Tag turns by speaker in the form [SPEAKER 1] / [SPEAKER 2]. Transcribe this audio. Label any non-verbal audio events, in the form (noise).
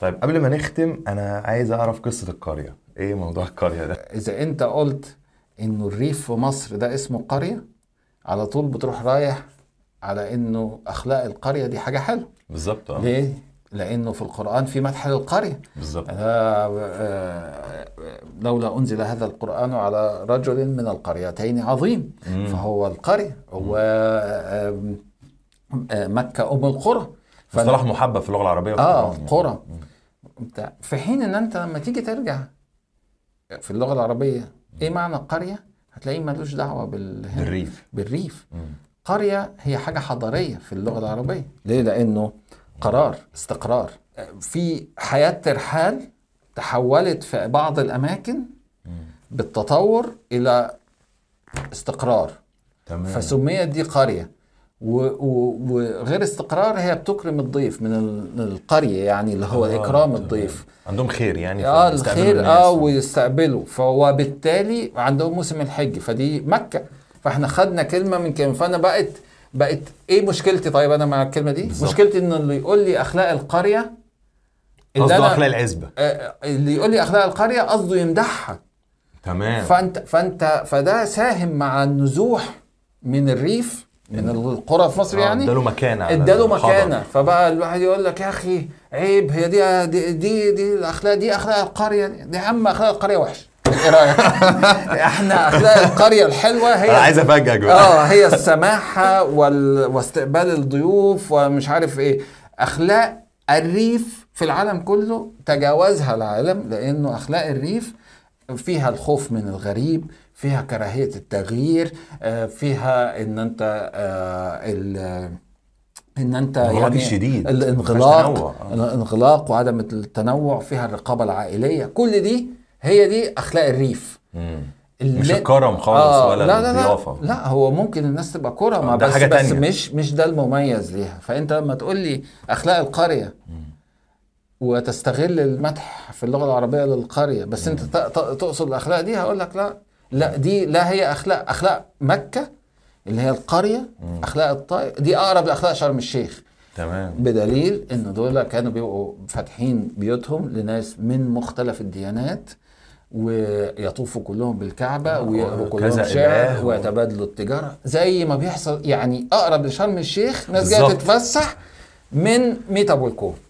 [SPEAKER 1] طيب قبل ما نختم انا عايز اعرف قصه القريه ايه موضوع القريه ده
[SPEAKER 2] اذا انت قلت انه الريف في مصر ده اسمه قرية على طول بتروح رايح على انه اخلاق القرية دي حاجة حلوة
[SPEAKER 1] بالظبط اه
[SPEAKER 2] ليه؟ لانه في القرآن في مدح للقرية
[SPEAKER 1] بالظبط
[SPEAKER 2] أنا، آه، لولا انزل هذا القرآن على رجل من القريتين عظيم
[SPEAKER 1] مم.
[SPEAKER 2] فهو القرية هو آم، آه، مكة ام القرى فأنا-
[SPEAKER 1] مصطلح محبب في اللغه العربيه
[SPEAKER 2] اه
[SPEAKER 1] والقرآن.
[SPEAKER 2] قرى بتاع في حين ان انت لما تيجي ترجع في اللغه العربيه ايه معنى قريه هتلاقيه ملوش دعوه بال...
[SPEAKER 1] بالريف
[SPEAKER 2] بالريف
[SPEAKER 1] مم.
[SPEAKER 2] قريه هي حاجه حضاريه في اللغه العربيه ليه لانه قرار استقرار في حياه ترحال تحولت في بعض الاماكن بالتطور الى استقرار
[SPEAKER 1] تمام
[SPEAKER 2] نعم. فسميت دي قرية و- و- وغير استقرار هي بتكرم الضيف من ال- من القرية يعني اللي هو
[SPEAKER 1] آه،
[SPEAKER 2] إكرام
[SPEAKER 1] تمام.
[SPEAKER 2] الضيف
[SPEAKER 1] عندهم خير يعني
[SPEAKER 2] اه
[SPEAKER 1] فبيستقبلوا
[SPEAKER 2] الخير
[SPEAKER 1] الناس.
[SPEAKER 2] اه ويستقبلوا فوبالتالي عندهم موسم الحج فدي مكة فاحنا خدنا كلمة من كلمة فأنا بقت بقت ايه مشكلتي طيب انا مع الكلمة دي؟
[SPEAKER 1] بالظبط.
[SPEAKER 2] مشكلتي ان اللي يقول لي اخلاق القرية اللي
[SPEAKER 1] قصده
[SPEAKER 2] انا
[SPEAKER 1] اخلاق العزبه
[SPEAKER 2] آه، اللي يقول لي اخلاق القرية قصده يمدحها
[SPEAKER 1] تمام
[SPEAKER 2] فانت فانت فده ساهم مع النزوح من الريف من القرى في مصر
[SPEAKER 1] آه،
[SPEAKER 2] يعني
[SPEAKER 1] اداله مكانه على
[SPEAKER 2] اداله
[SPEAKER 1] الحضر.
[SPEAKER 2] مكانه فبقى الواحد يقول لك يا اخي عيب هي دي دي دي, دي الاخلاق دي اخلاق القريه دي يا عم اخلاق القريه وحش
[SPEAKER 1] (laughs)
[SPEAKER 2] ايه (laughs) رايك؟ احنا اخلاق القريه الحلوه
[SPEAKER 1] انا
[SPEAKER 2] هي
[SPEAKER 1] عايز افاجئك بقى
[SPEAKER 2] اه هي السماحه وال... واستقبال الضيوف ومش عارف ايه اخلاق الريف في العالم كله تجاوزها العالم لانه اخلاق الريف فيها الخوف من الغريب فيها كراهيه التغيير آه، فيها ان انت آه، ال- يعني ان انت
[SPEAKER 1] انغلاق الشديد. مفيهاش تنوع.
[SPEAKER 2] الانغلاق
[SPEAKER 1] آه.
[SPEAKER 2] الانغلاق وعدم التنوع فيها الرقابه العائليه كل دي هي دي اخلاق الريف
[SPEAKER 1] مم.
[SPEAKER 2] اللي- آه،
[SPEAKER 1] مش الكرم خالص ولا
[SPEAKER 2] لا لا
[SPEAKER 1] الضيافة.
[SPEAKER 2] لا لا هو ممكن الناس تبقى كرم
[SPEAKER 1] ده
[SPEAKER 2] بس
[SPEAKER 1] حاجة
[SPEAKER 2] بس
[SPEAKER 1] تانية.
[SPEAKER 2] مش مش ده المميز ليها فانت لما تقول لي اخلاق القريه وتستغل المدح في اللغه العربيه للقريه بس انت ت- ت- تقصد الاخلاق دي هقول لك لا لا دي لا هي اخلاق اخلاق مكه اللي هي القريه اخلاق الطائف دي اقرب لاخلاق شرم الشيخ
[SPEAKER 1] تمام
[SPEAKER 2] بدليل ان دول كانوا بيبقوا فاتحين بيوتهم لناس من مختلف الديانات ويطوفوا كلهم بالكعبه ويقروا
[SPEAKER 1] آه، كذا
[SPEAKER 2] كلهم
[SPEAKER 1] إله
[SPEAKER 2] شعر
[SPEAKER 1] و-
[SPEAKER 2] ويتبادلوا التجاره زي ما بيحصل يعني اقرب لشرم الشيخ ناس جايه
[SPEAKER 1] بالظبط.
[SPEAKER 2] تتفسح من ميت ابو الكوم